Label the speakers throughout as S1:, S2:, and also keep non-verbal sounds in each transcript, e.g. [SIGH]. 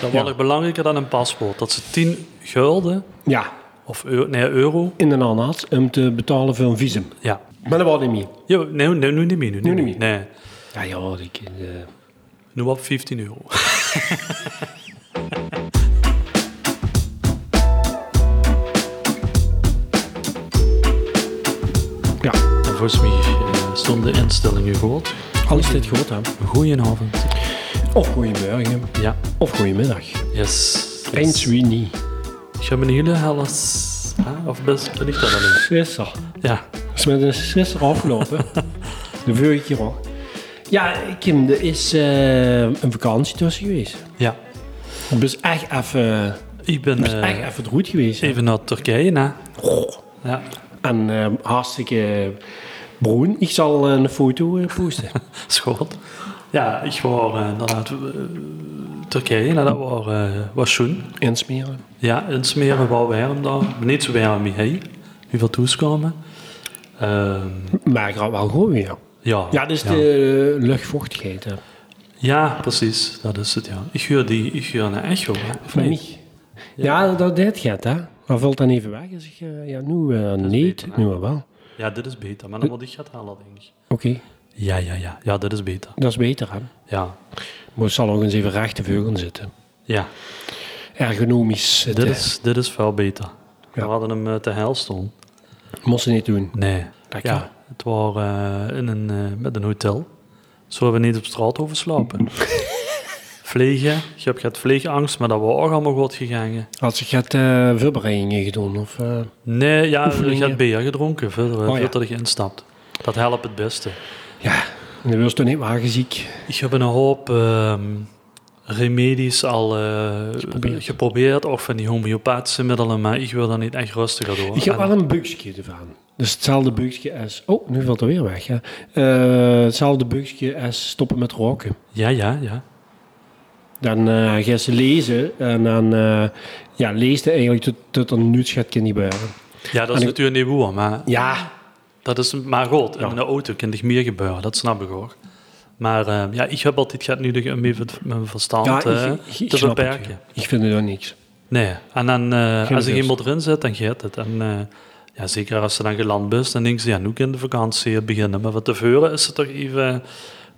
S1: Dat wordt nog belangrijker dan een paspoort. Dat ze 10 gulden
S2: Ja,
S1: of euro, nee, euro.
S2: in een ananas om te betalen voor een visum.
S1: Ja.
S2: Maar dat wordt niet meer.
S1: ja nee, nee, nu niet meer. Nu,
S2: niet
S1: Nee,
S2: Ja, ja, ik... eh,
S1: nu op 15 euro.
S2: ja,
S1: En volgens mij eh, stond de instelling goed.
S2: alles dit goed, hè.
S1: Goedenavond.
S2: Of goeiemorgen,
S1: Ja,
S2: of goeiemiddag.
S1: yes.
S2: Eens wie niet.
S1: Ik heb een hele helles. hè? Of best ben ik dat alleen?
S2: Sisser.
S1: Ja.
S2: is met een sisser afgelopen. [LAUGHS] de vorige keer al. Ja, Kim, er is eh, een vakantie tussen geweest.
S1: Ja.
S2: Het is echt even...
S1: Ik ben eh,
S2: echt even het roet geweest. hè.
S1: even naar Turkije, na. Ja.
S2: En eh, hartstikke broen. Ik zal een foto eh, posten.
S1: Schoot. Ja, ik was eh, inderdaad eh, Turkije, nou, dat was, eh, was schoon.
S2: [LAUGHS] Insmeren.
S1: Ja, in Smeren was warm daar. Maar niet zo warm als hier. Wie wil toeskomen. Ehm,
S2: Maar gaat wel goed weer.
S1: Oh, ja,
S2: Ja, dus de luchtvochtigheid. Hè.
S1: Ja, precies. Dat is het, ja. Ik huur die, ik huur naar Echo, hè, of
S2: Van
S1: niet?
S2: mij. Ja, dat dit gaat, hè. Maar valt dan even weg. Dus ik, eh, ja, nu eh niet,
S1: beter, hè?
S2: nu wel. Oké,
S1: Ja, dit is beter. Maar dan moet ik gaat halen, denk ik. Ja, ja, ja. Ja, dit is beter.
S2: dat is beter, hè.
S1: Ja.
S2: Maar het zal ook eens even recht te veugen zitten.
S1: Ja,
S2: Ergonomisch zitten.
S1: dit is, dit is veel beter.
S2: eh, Ja.
S1: We hadden hem eh, te heil staan.
S2: Moest je niet doen.
S1: Nee.
S2: Lekker.
S1: Ja, het was eh, in een, eh, met een hotel. Zo hebben we niet op straat
S2: [LAUGHS]
S1: overslapen. vliegen. Je hebt gehad vliegangst, maar dat was ook allemaal goed gegaan.
S2: Had ze gaat eh voorbereidingen gedaan? Of, eh,
S1: Nee, ja, je
S2: Oefeningen.
S1: hebt bier gedronken voordat
S2: Oh, ja.
S1: voordat je instapt. Dat helpt het beste.
S2: Ja, dan was toen niet wagenziek.
S1: Ik heb een hoop ehm, remedies al eh,
S2: Geprobeerd.
S1: geprobeerd. of van die homeopathische middelen, maar ik wil daar niet echt rustiger door.
S2: Ik heb
S1: Oh, En-
S2: wel een bugsje ervan. Dus hetzelfde bugsje als... Oh, nu valt er weer weg. Hè. Eh, hetzelfde bugsje als stoppen met roken.
S1: Ja, ja, ja.
S2: Dan eh ga je ze lezen en dan eh, ja, leest hij eigenlijk tot, tot een minuut gaat het niet buiten.
S1: Ja, dat is
S2: ik-
S1: natuurlijk niet woer, maar
S2: Ja,
S1: dat is maar goed. In een auto kan er meer gebeuren, dat snap ik hoor. Maar eh, ja, ik heb altijd gaat nu de- om even mijn verstand
S2: ja
S1: eh, te
S2: snap het,
S1: beperken.
S2: ja. Ik vind het ook niks.
S1: Nee, en dan, eh,
S2: Geen
S1: als er
S2: rust.
S1: iemand erin zit, dan gaat het. En eh, ja, zeker als ze dan geland bent, dan denk ze, ja, nu kan de vakantie beginnen. Maar van tevoren is het toch even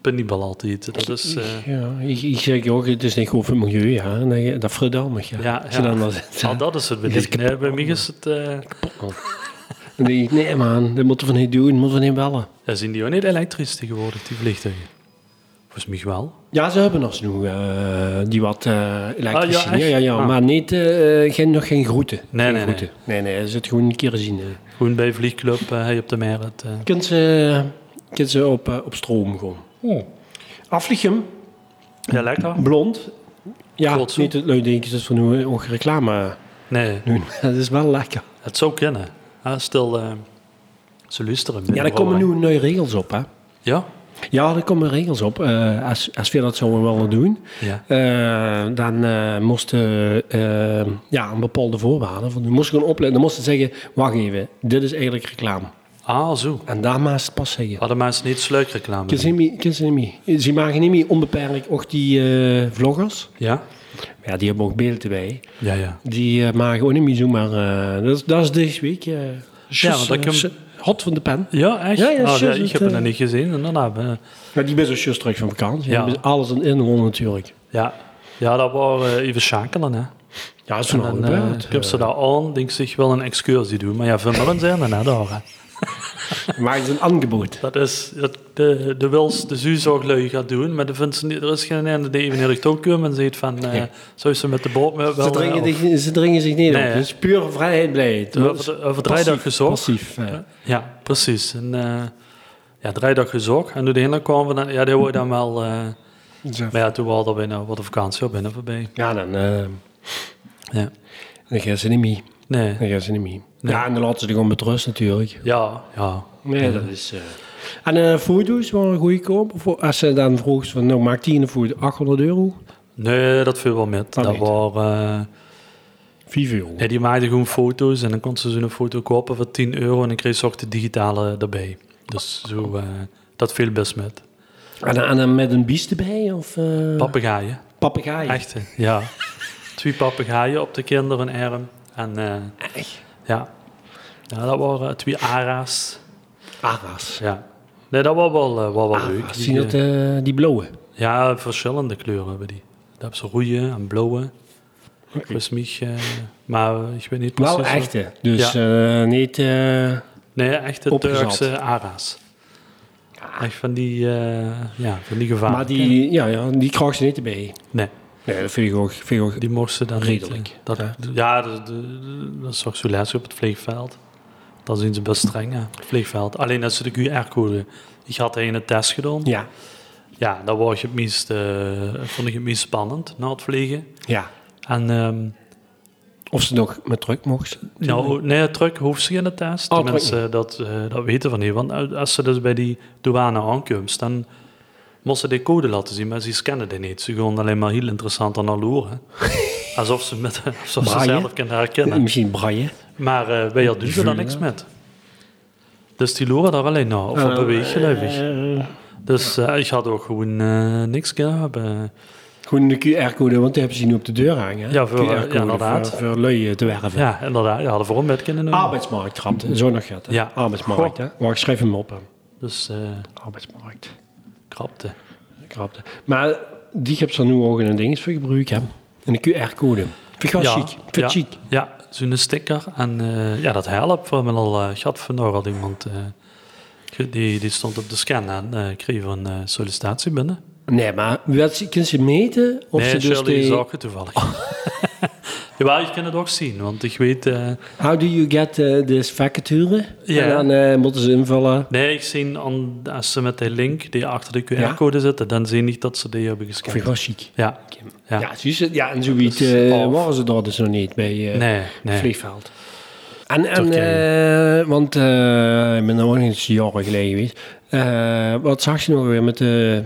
S1: penibel altijd. Dat is, eh,
S2: Ja, ik, ik zeg ook, het is niet goed voor het milieu. Ja. En dan- dat verdamig. Ja.
S1: Ja,
S2: Als je
S1: ja.
S2: dan daar zit.
S1: al dat is het. bij
S2: Dit is
S1: die- Nee, bij mij is het... eh,
S2: Dan denk ik, nee man, dat moeten we niet doen, dat moeten we niet bellen.
S1: ja, zijn die ook niet elektrisch tegenwoordig, die vliegtuigen? Volgens mij wel.
S2: Ja, ze hebben nog nu eh, die wat eh elektrisch.
S1: Ah, ja,
S2: ja,
S1: echt?
S2: ja, ja,
S1: Ah.
S2: maar niet, eh, geen, nog geen groeten.
S1: Nee,
S2: geen
S1: nee,
S2: groeten. nee. Nee, ze het gewoon een keer zien. eh.
S1: Groen bij Vliegclub, eh, hij op de Merit. eh.
S2: Kunt ze, kunt ze op, eh, op stroom gewoon.
S1: Oh.
S2: Aflichem,
S1: Ja, lekker.
S2: blond. Ja,
S1: Goed zo.
S2: niet het leuk denk ik, dat is voor nu ook reclame
S1: Nee,
S2: doen. [LAUGHS] Dat is wel lekker.
S1: het zou kunnen. Ah, stil, eh, ze luisteren.
S2: Ja, daar komen nu nieuwe regels op, hè.
S1: Ja?
S2: Ja, daar komen regels op. Eh, als, als we dat zouden willen doen,
S1: Ja.
S2: Eh, dan eh moesten eh, ja, een bepaalde voorwaarden. Want we moesten gewoon opletten. Dan moesten ze zeggen: wacht even, dit is eigenlijk reclame.
S1: Ah, zo.
S2: En daar mag ze het pas zeggen.
S1: Hadden mensen niet sluikreclame?
S2: Ken
S1: doen?
S2: ze niet meer- ken ze niet meer. Ze maken niet meer onbeperkt ook die eh, vloggers.
S1: Ja?
S2: Ja, die hebben ook beelden bij.
S1: Ja, ja.
S2: Die eh, maken ook niet meer zomaar. eh, dat, is- dat is deze week. eh
S1: want dat
S2: eh,
S1: kan-
S2: s- hot van de pen.
S1: Ja, echt?
S2: Ja, ja,
S1: Oh,
S2: zo is
S1: ik
S2: het,
S1: heb het
S2: eh.
S1: nog niet gezien, inderdaad. hè.
S2: Maar die ben zo just terug van vakantie.
S1: Ja.
S2: Die is Alles in inwonen natuurlijk.
S1: Ja, ja dat eh, waren even schakelen, hè.
S2: Ja, dat is een
S1: En,
S2: oude
S1: eh,
S2: beurt.
S1: ik heb ze daar aan, denk ze, ik wil een excursie doen. Maar ja, veel meer zijn er, hè, daar. hè.
S2: Maar het is een aanbod.
S1: Dat is, dat de, de wils, de zuurzorglui gaat doen, maar de vindt ze niet, er is geen ene die even naar de toe komt en zegt van, eh, zou ze met de boot mee wel...
S2: Ze
S1: eh,
S2: dringen,
S1: of-
S2: zich, ze dringen zich niet
S1: Nee, hè?
S2: op. Het is puur vrijheid blijheid.
S1: Over- over draaidag gezorgd.
S2: Passief. eh.
S1: Ja, precies. En, eh ja, draaidag gezorgd. En uiteindelijk kwamen we dan, ja, die wordt dan wel... eh, maar ja, toen waren we binnen, wat de vakantie al binnen voorbij.
S2: Ja, dan, eh
S1: Ja.
S2: dan gaan ze niet mee.
S1: Nee.
S2: Dan gaan ze niet mee. Ja, en dan laten ze er gewoon met rust natuurlijk.
S1: Ja, ja.
S2: Nee, dat is... eh, En eh, foto's waren goedkoop. Of Als ze dan vroeg, van, nou maak die een foto 800 euro.
S1: Nee, dat viel wel met.
S2: Dat
S1: Dat
S2: niet.
S1: waren, eh,
S2: 5 euro.
S1: nee, die maakten gewoon foto's en dan kon ze zo'n foto kopen voor 10 euro en dan kreeg ze ook de digitale erbij. Dus zo, eh, dat viel best met.
S2: En, dan- en dan met een biest erbij? Of eh
S1: Papegaaien,
S2: papegaai?
S1: echte, ja. twee papegaaien op de kinderen en arm. En eh, ja. ja, dat waren eh, twee ara's.
S2: Ara's.
S1: Ja. Nee, dat was wel, eh, was wel leuk.
S2: Ara's.
S1: Die,
S2: Zien Ah, dat
S1: eh,
S2: eh, die blauwe?
S1: ja, verschillende kleuren hebben die. Dat hebben ze rode en blauwe.
S2: Oké.
S1: Volgens mij, eh, maar ik weet niet precies.
S2: Blauw
S1: wat-
S2: echte. Dus eh, niet... eh,
S1: Nee, echte
S2: Opgezat.
S1: Turkse ara's. Echt van die, eh, ja, van die gevaren.
S2: maar die, ja, ja, die krijg je niet erbij.
S1: Nee,
S2: Nee, dat vind ik ook... Vind ik ook
S1: die mochten ze dan niet,
S2: Redelijk,
S1: eh, dat,
S2: hè?
S1: ja, dat, dat- dat zag ze les op het vliegveld. Dan zien ze best streng, hè, op het vliegveld. Alleen als ze de QR-code... Ik had een test gedaan. Ja,
S2: ja,
S1: dat was het meest, eh, vond ik het meest spannend, na het vliegen.
S2: ja.
S1: En ehm,
S2: Of ze nog met druk mocht.
S1: Nou, nee, truck hoeft ze geen test.
S2: Oh,
S1: De
S2: truck
S1: mensen dat, eh, dat weten van hier. Want als ze dus bij die douane aankomt, dan moesten ze die code laten zien, maar ze scannen die niet. Ze gaan alleen maar heel interessant aan haar loeren.
S2: [LAUGHS]
S1: Alsof ze, met, alsof ze
S2: Braaien?
S1: zelf kunnen herkennen.
S2: Misschien braaien.
S1: Maar eh, wij doen ze daar
S2: vullen.
S1: niks met. Dus die loeren daar alleen naar, of op beweeggeluivig.
S2: Eh,
S1: Dus eh, ik had ook gewoon eh, niks kunnen hebben.
S2: Gewoon de QR-code, want die hebben ze nu op de deur hangen. hè?
S1: Ja, voor-
S2: QR-code
S1: ja, inderdaad.
S2: Voor, voor lui eh, te werven.
S1: Ja, inderdaad. Ja, hadden voor een bed kunnen
S2: Ah.
S1: doen.
S2: Arbeidsmarkt, rapt. Zo nog gaat. hè?
S1: Ja.
S2: Arbeidsmarkt, hè. Wacht, schrijf hem op. hè.
S1: Dus eh
S2: Arbeidsmarkt.
S1: krapte.
S2: Krapte. Maar die heb ze nu ook in een ding voor gebruik, hè. En een QR-code. Vind ik wel chic. Vind ik
S1: ja,
S2: chic.
S1: Ja, zo'n sticker. En eh, ja, dat helpt. We hebben al eh gehad van al iemand eh, ge- die, die stond op de scan en eh kreeg een eh, sollicitatie binnen.
S2: Nee, maar wat, ze- kunnen ze meten of
S1: nee,
S2: ze dus
S1: Shirley
S2: de...
S1: zag het toevallig. [LAUGHS] Jawel, je kan het ook zien, want ik weet... eh,
S2: How do you get eh, this vacature?
S1: Ja.
S2: En dan eh, moeten ze invallen.
S1: nee, ik zie aan, als ze met die link die achter de QR-code zitten, dan zie je niet dat ze die hebben
S2: Vind ik
S1: gescand.
S2: wel chic.
S1: Ja,
S2: Ja,
S1: Ja.
S2: zie je, ja en zoiets
S1: Dus,
S2: eh,
S1: of-
S2: waren ze daar dus nog niet bij eh,
S1: nee,
S2: het
S1: nee.
S2: vliegveld. En, en eh, want eh, ik ben nog eens jaren geleden geweest. Eh, wat zag je nog weer met het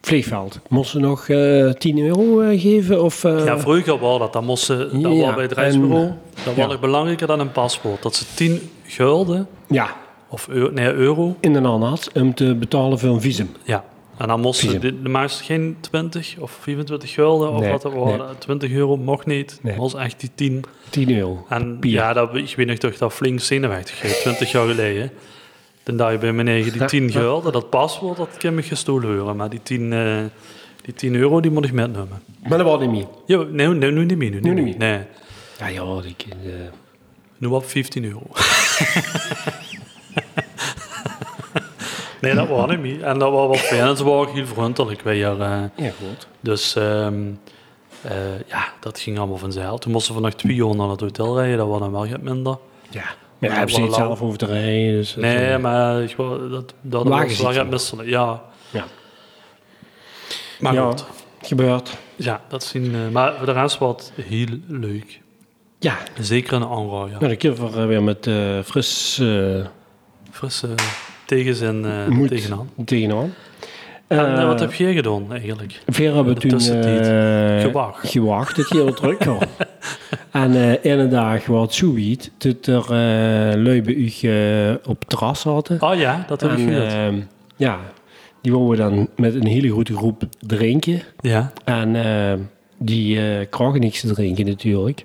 S2: vliegveld? Moest ze nog eh 10 euro eh, geven? Of, eh,
S1: Ja, vroeger was dat. Dat, moesten, dat
S2: Ja,
S1: was bij het
S2: en-
S1: reisbureau. Dat was
S2: ja.
S1: nog belangrijker dan een paspoort. Dat ze 10 gulden,
S2: ja,
S1: of eu- nee, euro,
S2: in de ananas om te betalen voor een visum.
S1: Ja, en dan moesten
S2: Visum.
S1: de, de maakte geen 20 of 25 gulden of
S2: Nee,
S1: wat er waren. 20 euro mocht niet.
S2: Nee.
S1: was echt die 10.
S2: 10 euro.
S1: En
S2: Pier.
S1: ja, dat, ik weet nog toch dat flink zenuwachtig is, 20 jaar geleden. Dan dacht je bij mijn eigen, die 10 gulden, dat paswoord, dat kan me gestolen horen. Maar die 10, eh, die 10 euro, die moet ik metnemen.
S2: Maar dat was niet meer.
S1: Ja, nee, nee, nu niet meer. Nu,
S2: Nu
S1: niet
S2: niet
S1: meer. Nee,
S2: Ja, ja, ik, eh,
S1: nu op 15 euro. nee, dat was niet meer. En dat was wat fijn. En ze waren ook heel vriendelijk. Wij hier... eh,
S2: ja, goed.
S1: Dus ehm, eh, ja, dat ging allemaal vanzelf. Toen moesten we nog twee uur naar het hotel rijden, dat was dan wel wat minder.
S2: Ja, maar ja,
S1: Ja,
S2: hebben ze
S1: wel
S2: niet
S1: lang.
S2: zelf over te rijden. Dus, dat,
S1: Nee,
S2: eh,
S1: maar ik wou- dat, dat
S2: Wagens
S1: was wel
S2: iets
S1: wat misselijk. Ja,
S2: ja.
S1: maar
S2: ja,
S1: goed.
S2: gebeurt.
S1: Ja, dat zien, eh, maar voor de rest was het heel leuk.
S2: Ja,
S1: Zeker een aanrader.
S2: nou, de keer voor eh, weer met eh, fris eh
S1: Frisse tegenzin eh,
S2: moed
S1: tegenaan.
S2: tegenaan.
S1: En eh,
S2: Eh,
S1: wat heb jij gedaan eigenlijk?
S2: Vera hebben
S1: de
S2: toen
S1: tussentijd?
S2: eh,
S1: Gewacht.
S2: gewacht dat je heel druk kwam.
S1: [LAUGHS]
S2: En eh ene dag wat zoiet, dat er eh lui bij u eh, op het terras zaten.
S1: Oh ja, dat heb ik
S2: en,
S1: gehoord.
S2: ehm, ja, die wouden we dan met een hele grote groep drinken.
S1: ja.
S2: En eh, die eh kragen niks te drinken natuurlijk.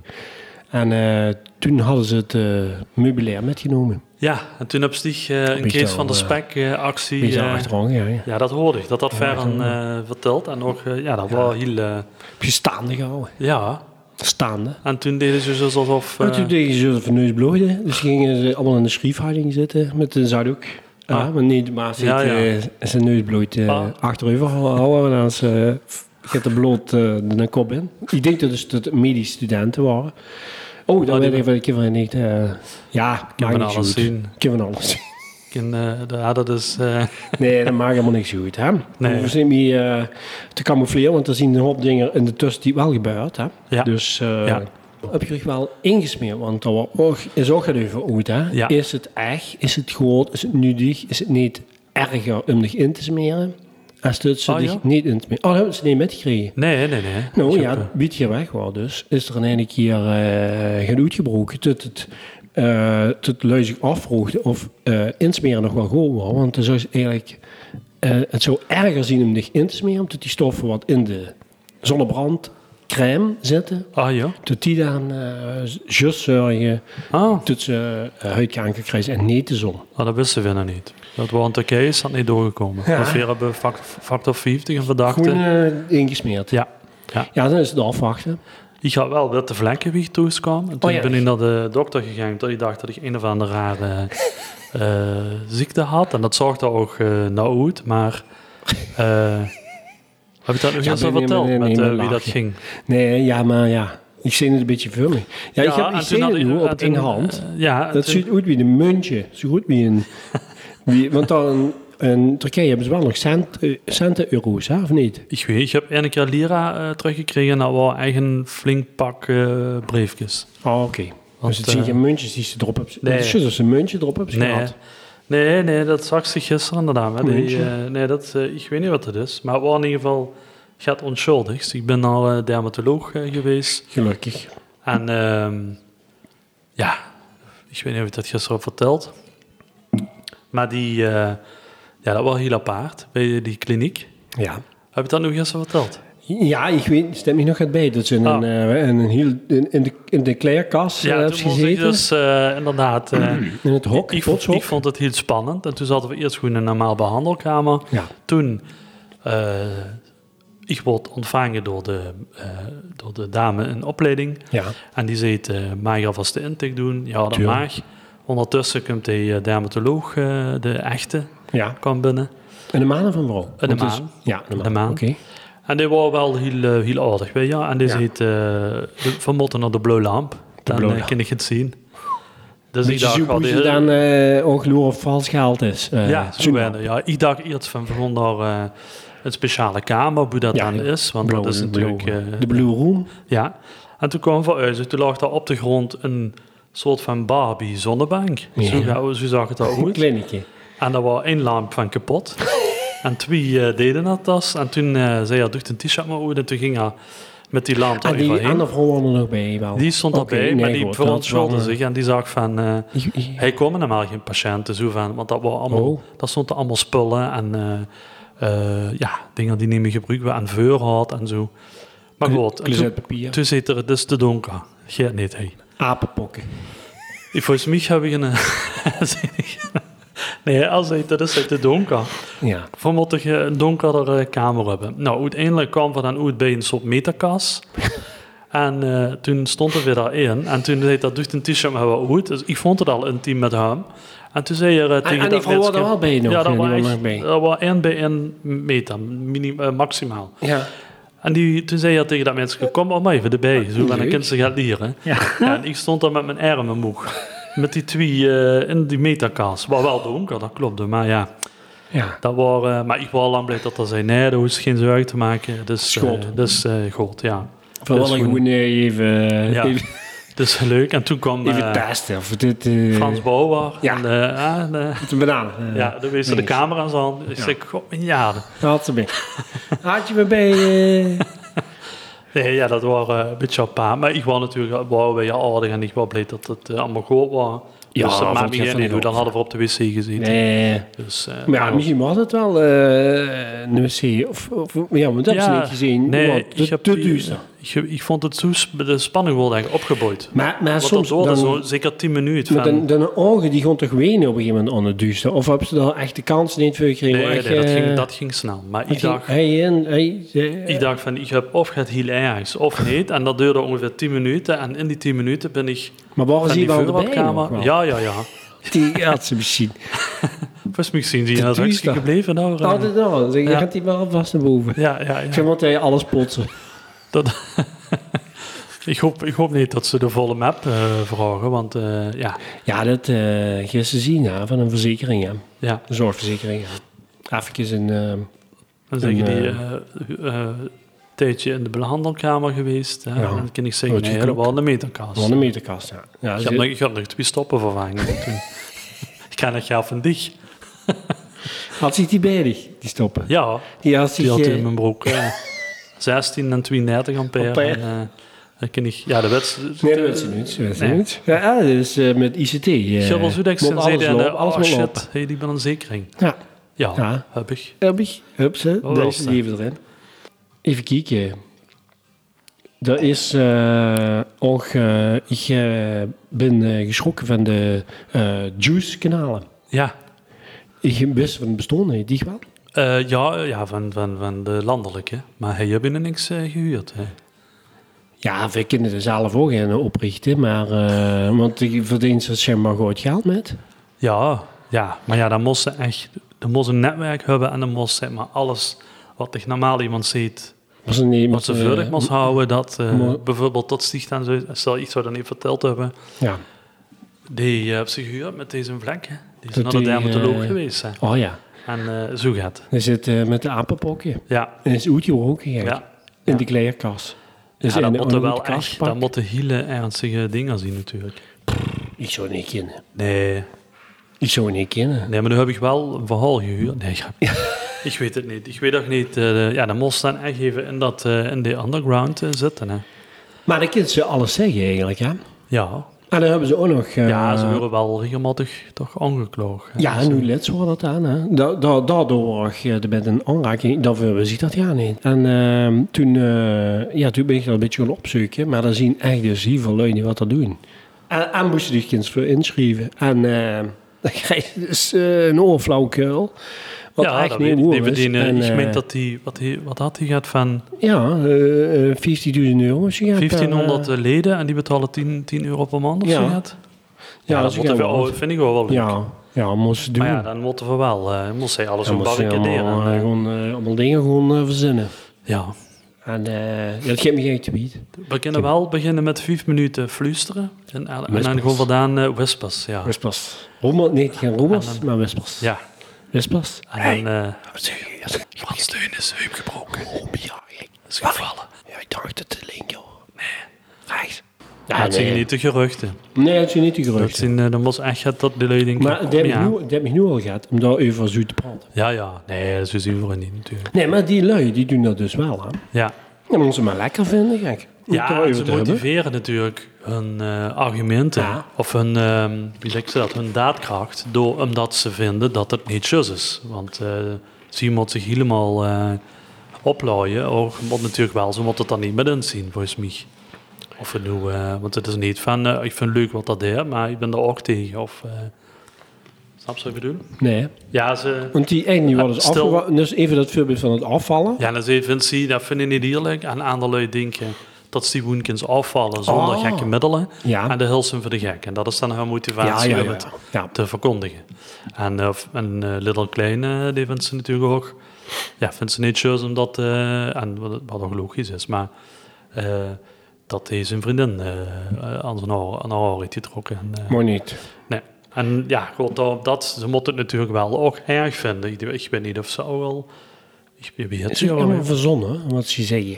S2: En eh, toen hadden ze het eh, meubilair metgenomen.
S1: ja, en toen heb je eh, een
S2: Beetje
S1: Kees van der
S2: al, eh,
S1: Spek eh, actie.
S2: Beetje
S1: eh,
S2: achteraan, ja. ja.
S1: ja, dat hoorde ik. Dat had
S2: Ja,
S1: Ferran
S2: zo.
S1: eh, verteld. En ook, eh, ja, dat was heel... eh,
S2: Heb je staande gehouden.
S1: ja,
S2: Staande.
S1: En toen deden ze dus alsof...
S2: En
S1: eh,
S2: toen deden ze van neus blootje. Dus gingen ze allemaal in de schriefhouding zitten met een zaddoek.
S1: Ah.
S2: Ja, maar niet, maar ze
S1: Ja,
S2: heeft,
S1: ja.
S2: eh, zijn neus bloot eh,
S1: Ah.
S2: achterover houden. En dan ze, gaat eh, de bloot eh, de kop in. Ik denk dat dus dat het medisch studenten waren. Oh,
S1: Ah, die
S2: dat weet ik
S1: ben-
S2: wel. Ik heb er niet... eh, ja,
S1: Ik
S2: maakt
S1: kan
S2: niks
S1: alles
S2: goed.
S1: zien.
S2: Ik heb van alles.
S1: Ik kan, eh, de- ja, dat is... eh, [LAUGHS]
S2: Nee, dat maakt helemaal niks goed. Hè?
S1: Nee.
S2: We zijn niet eh, te camoufleren, want er zien een hoop dingen in de tussen die wel gebeurt. Hè?
S1: Ja.
S2: Dus eh,
S1: Ja.
S2: heb je zich wel ingesmeerd, want dat wordt ook- is ook het even uit. Hè?
S1: Ja.
S2: Is het echt? Is het groot? Is het nudig? Is het niet erger om zich in te smeren? Als dat ze
S1: Oh,
S2: zich
S1: ja?
S2: niet in te smeren. Oh, dat hebben ze niet metgekregen.
S1: nee, nee, nee.
S2: Nou
S1: Ik
S2: ja,
S1: heb, eh,
S2: het bietje weg was dus, is er in een keer eh genoeg gebroken tot het, eh tot lui zich afvroegde of eh, insmeren nog wel goed was. Want dan zou ze eigenlijk, eh, het zou erger zien om zich in te smeren, omdat die stoffen wat in de zonnebrand crème zetten.
S1: Ah ja.
S2: Tot die dan eh just zorgen
S1: Ah,
S2: dat ze eh, huidkanker krijgen en niet de zon.
S1: ah dat wisten we nog niet. Dat we in Turkije is dat niet doorgekomen.
S2: Ja.
S1: Want we hebben fac- eh, factor 50 een verdachte.
S2: Groen eh, ingesmeerd. Ja.
S1: Ja. ja.
S2: dan is het afwachten.
S1: Ik had wel witte vlekken weer thuiskomen. En toen
S2: Oh ja.
S1: ben ik naar de dokter gegaan. Toen ik dacht dat ik een of andere
S2: [LAUGHS]
S1: rare eh, ziekte had. En dat zorgde ook eh nou uit. Maar eh, heb ik dat nog
S2: Ja,
S1: eens
S2: nee,
S1: al
S2: nee,
S1: verteld?
S2: nee, nee,
S1: met
S2: nee,
S1: eh,
S2: maar
S1: wie dat
S2: lachje.
S1: ging.
S2: Nee, ja, maar ja. Ik zie het een beetje voor me. Ja, ik heb
S1: en
S2: ik
S1: toen
S2: zie
S1: had
S2: het nu
S1: ik- en
S2: op één
S1: toen,
S2: hand.
S1: eh, ja, en
S2: Dat
S1: toen-
S2: ziet uit wie een muntje. Zo goed wie een... Wie, want dan in Turkije hebben ze wel nog cent, eh, centen euro's, hè, of niet?
S1: Ik weet, ik heb één keer lira eh, teruggekregen. En dat was echt een flink pak eh, briefjes.
S2: Oh, oké.
S1: Ah, Want,
S2: Dus het zijn
S1: eh,
S2: geen muntjes die ze erop hebben.
S1: nee.
S2: Nee. Het is juist als ze een muntje erop hebben
S1: Nee,
S2: gehad.
S1: nee, nee, dat zag ze gisteren inderdaad. hè. Die,
S2: Muntje.
S1: eh, nee, dat, eh, ik weet niet wat het is. Maar het was in ieder geval gaat onschuldig. Ik ben al eh, dermatoloog eh, geweest.
S2: Gelukkig.
S1: En ehm, ja, ik weet niet of ik dat gisteren heb verteld. Maar die, eh, ja, dat was heel apart bij die kliniek.
S2: Ja.
S1: Heb ik dat nu gisteren verteld?
S2: Ja, ik weet, stem je nog het bij. Dat ze in,
S1: Ah.
S2: een, eh, in, een heel, in, in de, in de kleerkast eh,
S1: Ja,
S2: hebben
S1: toen
S2: ze
S1: moest ik
S2: gezeten.
S1: dus eh, inderdaad... eh,
S2: in [CLEARS THROAT] het hok,
S1: ik,
S2: ik,
S1: vond,
S2: potshok.
S1: ik vond het heel spannend. En toen zaten we eerst gewoon in een normaal behandelkamer.
S2: ja.
S1: Toen, eh, ik word ontvangen door de, eh, door de dame in opleiding.
S2: Ja.
S1: En die zei, eh mag je alvast de intake doen? Ja, dat
S2: Tuurlijk.
S1: mag. Ondertussen komt die eh, dermatoloog, eh, de echte,
S2: ja.
S1: kwam binnen.
S2: En de manen van vooral?
S1: de
S2: Want het is-
S1: maan.
S2: Ja, de maan.
S1: De maan.
S2: Oké.
S1: En die was wel heel, eh, heel aardig, weet je. En die
S2: Ja.
S1: zei, eh we moeten naar de blauwe lamp. Dan
S2: blauwe
S1: eh,
S2: lamp.
S1: kan ik het zien. Dus
S2: Dus je ziet
S1: oh,
S2: hoe
S1: die-
S2: ze dan eh ongelooflijk of vals geld is. eh,
S1: ja, zo
S2: zo'n-
S1: werden. Ja, ik dacht eerst van we gaan naar eh, een speciale kamer, hoe dat
S2: Ja,
S1: dan
S2: ja.
S1: is. Want
S2: blauwe-
S1: dat is natuurlijk...
S2: blauwe-
S1: eh,
S2: de Blue Room.
S1: Ja, en toen kwam vooruit. Toen lag daar op de grond een soort van Barbie zonnebank.
S2: Ja.
S1: Zo, gauw- zo zag het
S2: Een
S1: eruit.
S2: [LAUGHS] kliniekje.
S1: En daar was één lamp van
S2: [LAUGHS]
S1: kapot. en twee eh, deden dat dus. En toen eh, zei hij, doet een t-shirt maar uit. En toen ging hij met die lamp daar
S2: En Ah, die
S1: overheen.
S2: andere vrouw was er nog bij. Wel.
S1: Die stond
S2: Oké,
S1: daarbij, maar
S2: nee,
S1: die
S2: goed, dat is wel,
S1: verontschuldigde
S2: eh,
S1: zich. En die zag van, eh,
S2: ik- ik-
S1: hij komen normaal geen patiënten. Zo van, want dat, waren allemaal,
S2: Oh.
S1: dat stonden allemaal spullen en eh, eh, ja, dingen die niet meer gebruikt werden. En vuurhout en zo. Maar goed, en toen,
S2: Kleurzetpapier.
S1: toen zit er dus te donker. Geert niet, hé.
S2: Apenpokken.
S1: Ik volgens mij heb ik een... [LAUGHS] nee, als hij dat is, hij te donker.
S2: Ja.
S1: We moeten ge- een donkerdere kamer hebben. Nou, uiteindelijk kwam we dan uit bij een soort meterkas. en eh, toen stond er weer daarin. En toen zei dat doet een t-shirt maar wel goed. Dus ik vond het al intiem met hem. En toen zei je eh, tegen
S2: Ah, en die
S1: dat
S2: vrouw
S1: meisje-
S2: was er wel bij nog,
S1: Ja,
S2: eh,
S1: dat
S2: die
S1: was
S2: was
S1: echt-
S2: nog bij.
S1: dat was één bij één meter, minim, eh, maximaal.
S2: Ja.
S1: En die, toen zei je tegen dat mensen, kom maar even erbij. Zo, en dan
S2: Leuk.
S1: kunnen ze gaan leren.
S2: Ja.
S1: [LAUGHS] En ik stond daar met mijn armen moeg. Met die twee eh, in die metakaas. Waar wel donker, dat klopte. Maar ja,
S2: Ja.
S1: dat waren, eh, maar ik was al lang blij dat dat zei, nee, daar hoeft geen zorgen te maken. Dus, eh,
S2: Schot.
S1: dus eh, goed, ja.
S2: Van
S1: Dus
S2: wel
S1: goed.
S2: gewoon eh, even...
S1: Ja.
S2: Even,
S1: Dus leuk. En toen kwam eh,
S2: even testen. Of dit... eh,
S1: Frans Bauer.
S2: Ja.
S1: En, eh, ah, en, eh,
S2: Met een banaan. eh,
S1: ja, toen wees er de
S2: niks.
S1: camera's aan. Ik
S2: Ja.
S1: zei, god, mijn jaren.
S2: Daar had ze mee. Had je me
S1: [LAUGHS]
S2: bij... eh,
S1: Nee, ja, dat waren eh, een beetje apart. Maar ik was natuurlijk wel weer aardig en ik was blij dat het eh, allemaal goed was.
S2: Ja,
S1: dus dat
S2: vond
S1: maakt
S2: je
S1: me geen
S2: van
S1: idee.
S2: ook.
S1: Dan hadden we op de wc gezeten.
S2: Nee.
S1: Dus, eh,
S2: Maar ja, misschien was het wel eh een wc. Of, of, ja, want dat is niet gezien.
S1: Nee,
S2: want
S1: ik,
S2: te,
S1: heb, eh,
S2: te duister.
S1: Ik, ik vond het zo sp- de spanning wel denk ik opgebouwd.
S2: Maar, maar
S1: Want soms
S2: soms
S1: dat
S2: dan,
S1: duurde zo zeker 10 minuten.
S2: met
S1: Van,
S2: een, dan ogen die gewoon toch wenen op een gegeven moment aan het duister. Of hebben ze daar echt de kans niet voor gekregen?
S1: nee,
S2: Echt,
S1: nee, dat,
S2: eh,
S1: ging, dat ging snel. Maar
S2: dat
S1: ik
S2: ging-
S1: dacht,
S2: Hey, en, hey, eh,
S1: ik dacht van, ik heb of het heel ergens of niet. En dat duurde ongeveer 10 minuten. En in die 10 minuten ben ik
S2: maar waar
S1: van
S2: is
S1: die
S2: die Oh, wel erbij nog
S1: vuurwerkkamer...
S2: wel?
S1: Ja, ja, ja.
S2: [LAUGHS] Die had ze misschien.
S1: Volgens mij zien die
S2: Te
S1: dat is
S2: duister.
S1: gebleven. Nou, eh.
S2: Altijd dan. Zeg, Je
S1: Ja.
S2: gaat die wel vast naar boven.
S1: ja, ja,
S2: Ik
S1: ja.
S2: zeg maar dat hij alles plotsen.
S1: Dat, ik, hoop, ik hoop niet dat ze de volle map eh, vragen. Want eh, ja,
S2: Ja, dat eh gisteren zien hè, van een verzekering. Hè.
S1: ja.
S2: Een zorgverzekering. Ja. Even een... eh,
S1: Dan zeg je
S2: En,
S1: die
S2: eh,
S1: eh, eh, tijdje in de behandelkamer geweest. Hè?
S2: Ja. Oh,
S1: En dan kan ik zeggen,
S2: Wat je
S1: nee, dat
S2: klopt.
S1: was een meterkast.
S2: Wat een meterkast, ja. ja
S1: Ik
S2: ze-
S1: heb nog, ik heb nog twee stoppen vervangen. toen. [LAUGHS] ik ga nog gaan van dich.
S2: Had zich die bij zich, die stoppen?
S1: Ja,
S2: Die had zich...
S1: die had
S2: eh,
S1: in mijn broek.
S2: [LAUGHS]
S1: eh, 16 en 32 ampère.
S2: Ampère.
S1: En, eh, dan kan ik, ja, de wet...
S2: Nee, dat weet ze niet. Dat weet ze
S1: Nee.
S2: niet. Ja, Ja, dus eh, met ICT. eh,
S1: Gilbert Zudeks
S2: moet
S1: en zei
S2: alles
S1: dan,
S2: lopen,
S1: eh,
S2: alles
S1: oh
S2: moet
S1: shit,
S2: lopen.
S1: hey, die ben een zekering.
S2: Ja,
S1: Ja,
S2: Ja.
S1: heb ik.
S2: heb ik. Hup, ze.
S1: wel
S2: Daar is die
S1: staan.
S2: even erin. Even kijken. Er is eh, ook, eh, ik eh, ben eh, geschrokken van de eh, juice-kanalen.
S1: Ja,
S2: Ik wist van het bestaan, hè, die wel.
S1: Eh, ja, eh, ja van, van, van de landelijke. Maar hij heeft binnen niks eh, gehuurd. Hè.
S2: Ja, we kunnen er zelf ook in oprichten, maar, eh, want ik verdient ze zeg maar goed geld met.
S1: Ja, ja, maar ja, dan moest ze echt dan moest ze een netwerk hebben en dan moest zeg maar alles wat ik normaal iemand ziet,
S2: Maar ze eh, niet,
S1: wat ze veilig moest houden. Dat eh,
S2: mo-
S1: bijvoorbeeld tot sticht en zo, stel iets wat dan niet verteld hebben,
S2: Ja.
S1: die eh, heeft ze gehuurd met deze vlek. hè. Die is
S2: Dat
S1: naar de
S2: die,
S1: dermatoloog
S2: eh,
S1: geweest. hè.
S2: Oh ja,
S1: En eh, zo gaat het.
S2: hij zit eh, met de apenpokje.
S1: Ja,
S2: En is Oetje ook gegaan.
S1: ja.
S2: In de kleerkast. Dus
S1: ja
S2: in
S1: dat
S2: de-
S1: moeten
S2: in de
S1: wel
S2: kast
S1: echt, dat
S2: pakken.
S1: moeten hele ernstige dingen zien natuurlijk.
S2: Ik zou niet kennen.
S1: Nee,
S2: Ik zou niet kennen.
S1: Nee, maar nu heb ik wel een verhaal gehuurd. Nee, ja. [LAUGHS] ik weet het niet. Ik weet ook niet. eh, ja, dan moest dan echt even in, dat, eh, in de underground eh, zitten. Hè.
S2: Maar dan kunnen ze alles zeggen eigenlijk, hè?
S1: Ja.
S2: En dan hebben ze ook nog... eh,
S1: ja, ze worden wel regelmatig toch aangekloogd. hè.
S2: Ja, nu let ze wel dat aan. Hè. Da da daardoor eh, er met een aanraking, dat we zien dat ja niet. En ehm, toen, eh, ja, toen ben ik dat een beetje gaan opzoeken, maar dan zien echt dus heel veel lui niet wat dat doen. En, en moesten die kinderen voor inschrijven. En ehm [LAUGHS] dan krijg je dus eh, een oorflauwkeul. Wat
S1: ja,
S2: echt
S1: dat
S2: niet
S1: weet ik
S2: hoor
S1: niet.
S2: is.
S1: Bedienen.
S2: En,
S1: ik meen
S2: eh,
S1: dat die, wat, die, wat had hij gehad van
S2: Ja, eh, eh, 15.000 euro. is die gehad, eh,
S1: 1500 leden en die betalen 10, 10 euro per maand of
S2: Ja.
S1: zo gehad?
S2: Ja,
S1: Ja,
S2: dat
S1: dat
S2: is
S1: moeten we
S2: wel
S1: wel,
S2: wat.
S1: vind ik wel wel leuk.
S2: Ja, ja, moest ze doen.
S1: Maar ja, dan moeten we wel, eh moest hij alles
S2: Dan moest je allemaal, eh,
S1: barricaderen.
S2: gewoon, eh, allemaal dingen gewoon eh, verzinnen.
S1: Ja.
S2: En eh, ja, dat geeft me geen tweet.
S1: We kunnen wel beginnen met vijf minuten fluisteren. En, en, en dan
S2: Whispers.
S1: gewoon vandaan eh whispers, ja.
S2: Whispers. Rommel, nee, geen rommels, maar whispers.
S1: Ja,
S2: Whispers.
S1: en dan... eh
S2: Serieus.
S1: Frans Teun is heup gebroken.
S2: Ja, ik-
S1: Is gevallen.
S2: ja, ik dacht het te link, joh. Nee. Rechts.
S1: Ja, dat zijn niet de geruchten.
S2: Nee, dat zijn niet de
S1: Dat
S2: geruchten.
S1: zijn eh, dan was echt dat- dat de leiding...
S2: Maar dat heb, ik nu, dat heb ik nu al gehad, om daar even zo te praten.
S1: Ja, ja. Nee, zo zien we het niet natuurlijk.
S2: Nee, maar die lui, die doen dat dus wel, hè.
S1: Ja.
S2: Dat moeten ze maar lekker vinden, gek. Om daar
S1: Ja, en
S2: even
S1: ze
S2: te hebben.
S1: motiveren natuurlijk hun eh, argumenten.
S2: Ja.
S1: Of hun, ehm, wie zeg ze dat, hun daadkracht. Door, omdat ze vinden dat het niet juist is. Want eh ze moet zich helemaal eh oplooien. Ook moet natuurlijk wel, ze moet het dan niet met inzien, volgens mij. Of het nu, eh, want het is niet van, eh, ik vind het leuk wat dat deed, maar ik ben er ook tegen. Of, eh, snap je wat ik bedoel?
S2: Nee.
S1: Ja, ze...
S2: Want die eind die worden dus
S1: Stil.
S2: afgewa- Dus even dat voorbeeld van het afvallen.
S1: Ja, dan ze- vindt ze, dat vinden niet eerlijk. En andere denken dat ze die woenkens afvallen zonder
S2: Oh.
S1: gekke middelen.
S2: Ja.
S1: En de hilsen voor de gek. En dat is dan haar motivatie
S2: Ja, ja,
S1: om
S2: ja,
S1: het
S2: ja.
S1: te verkondigen. En, eh, f- en eh, Little Klein, eh, die vindt ze natuurlijk ook... Ja, vindt ze niet juist omdat... eh, en wat, wat ook logisch is, maar... eh, dat hij zijn vriendin eh, eh, aan zijn haar- aan haar haar heeft getrokken. En, eh,
S2: Maar niet.
S1: Nee. En ja, goed, dat, dat, ze moet het natuurlijk wel ook erg vinden. Ik, ik weet niet of ze al wel... Ik ik weet het
S2: Het is
S1: niet,
S2: helemaal
S1: hoor.
S2: verzonnen, wat ze zeggen.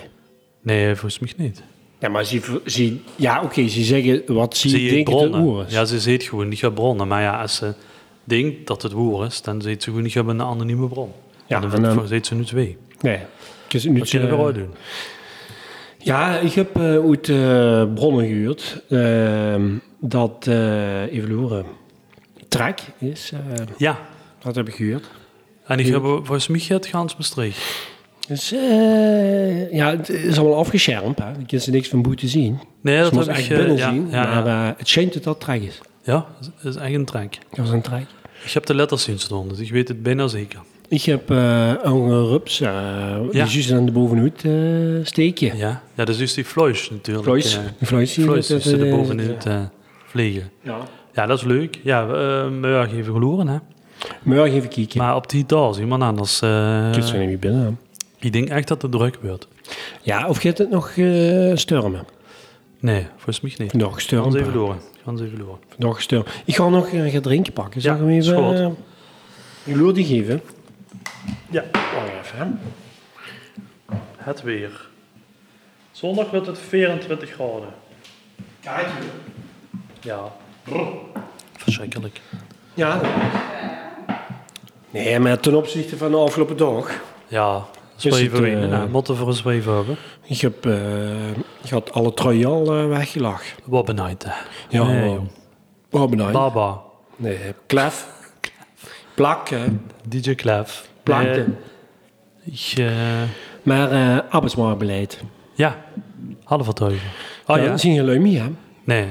S1: Nee, volgens mij niet.
S2: Ja, maar ze, ver- ze, ja, oké, ze zeggen wat ze,
S1: Ze heet
S2: denken te
S1: bronnen.
S2: oren.
S1: Ja, ze ziet gewoon niet gaat bronnen. Maar ja, als ze denkt dat het woer is, dan ziet ze gewoon niet hebben een anonieme bron.
S2: Ja,
S1: Ja, dan,
S2: en dan-
S1: dan ziet ze nu twee.
S2: Nee. Dus nu
S1: Dat kunnen we
S2: eh,
S1: eruit doen.
S2: Ja, ik heb eh uit eh, bronnen gehuurd ehm, dat, eh even horen, Trek is, eh,
S1: Ja,
S2: dat heb ik gehuurd.
S1: en ik heb volgens mij het Gaans Maastricht.
S2: Dus eh, ja, het is allemaal afgeschermd, hè. je kunt er niks van boete zien.
S1: Nee,
S2: Ze
S1: dat
S2: moest
S1: heb ik...
S2: echt
S1: eh,
S2: binnen
S1: ja,
S2: zien,
S1: ja,
S2: maar
S1: ja.
S2: eh, het schijnt dat dat Trek is.
S1: ja, dat is echt een trek.
S2: Dat was een Trek.
S1: Ik heb de letters zien staan, dus ik weet het bijna zeker.
S2: Ik heb eh een rups, eh, die
S1: Ja.
S2: is juist aan de bovenhoed eh steekje.
S1: Ja, ja dus is die Floys natuurlijk.
S2: Vloeis,
S1: eh,
S2: vloeis hier.
S1: Floys,
S2: dat,
S1: die zitten
S2: eh,
S1: bovenin te vliegen.
S2: Ja.
S1: Ja, dat is leuk. Ja, we eh, morgen even geloren, hè.
S2: Morgen even kijken.
S1: Maar op die dag is iemand anders... eh,
S2: Dit zijn niet binnen. hè.
S1: Ik denk echt dat het druk wordt.
S2: Ja, of gaat het nog eh stormen?
S1: Nee, volgens mij niet.
S2: Nog
S1: Gaan ze even
S2: stormen.
S1: door. Gaan ze even door.
S2: Nog stormen. Ik ga nog eh, gaan drinken pakken. Zal
S1: Ja,
S2: ik hem
S1: is
S2: even...
S1: goed.
S2: eh, een loodje geven?
S1: Ja.
S2: Wacht even, hè.
S1: Het weer. Zondag wordt het 24 graden. Ja. Verschrikkelijk.
S2: Ja. Nee, maar ten opzichte van de afgelopen dag...
S1: Ja.
S2: Is het,
S1: Zweven winnen.
S2: eh,
S1: Nou, Motten voor een zweven hebben.
S2: Ik heb... eh, ik had alle truien al eh, weggelagd.
S1: Wat benijd, hè.
S2: Ja,
S1: Nee,
S2: maar-
S1: joh.
S2: Oh, benauwd.
S1: Baba.
S2: Nee, klef. Plak, hè.
S1: DJ Klef.
S2: Planken.
S1: Nee, ik, eh,
S2: Maar eh arbeidsmarktbeleid.
S1: Ja, hadden we het over. Oh ja?
S2: Ah, Dat is geen leumie, hè?
S1: Nee.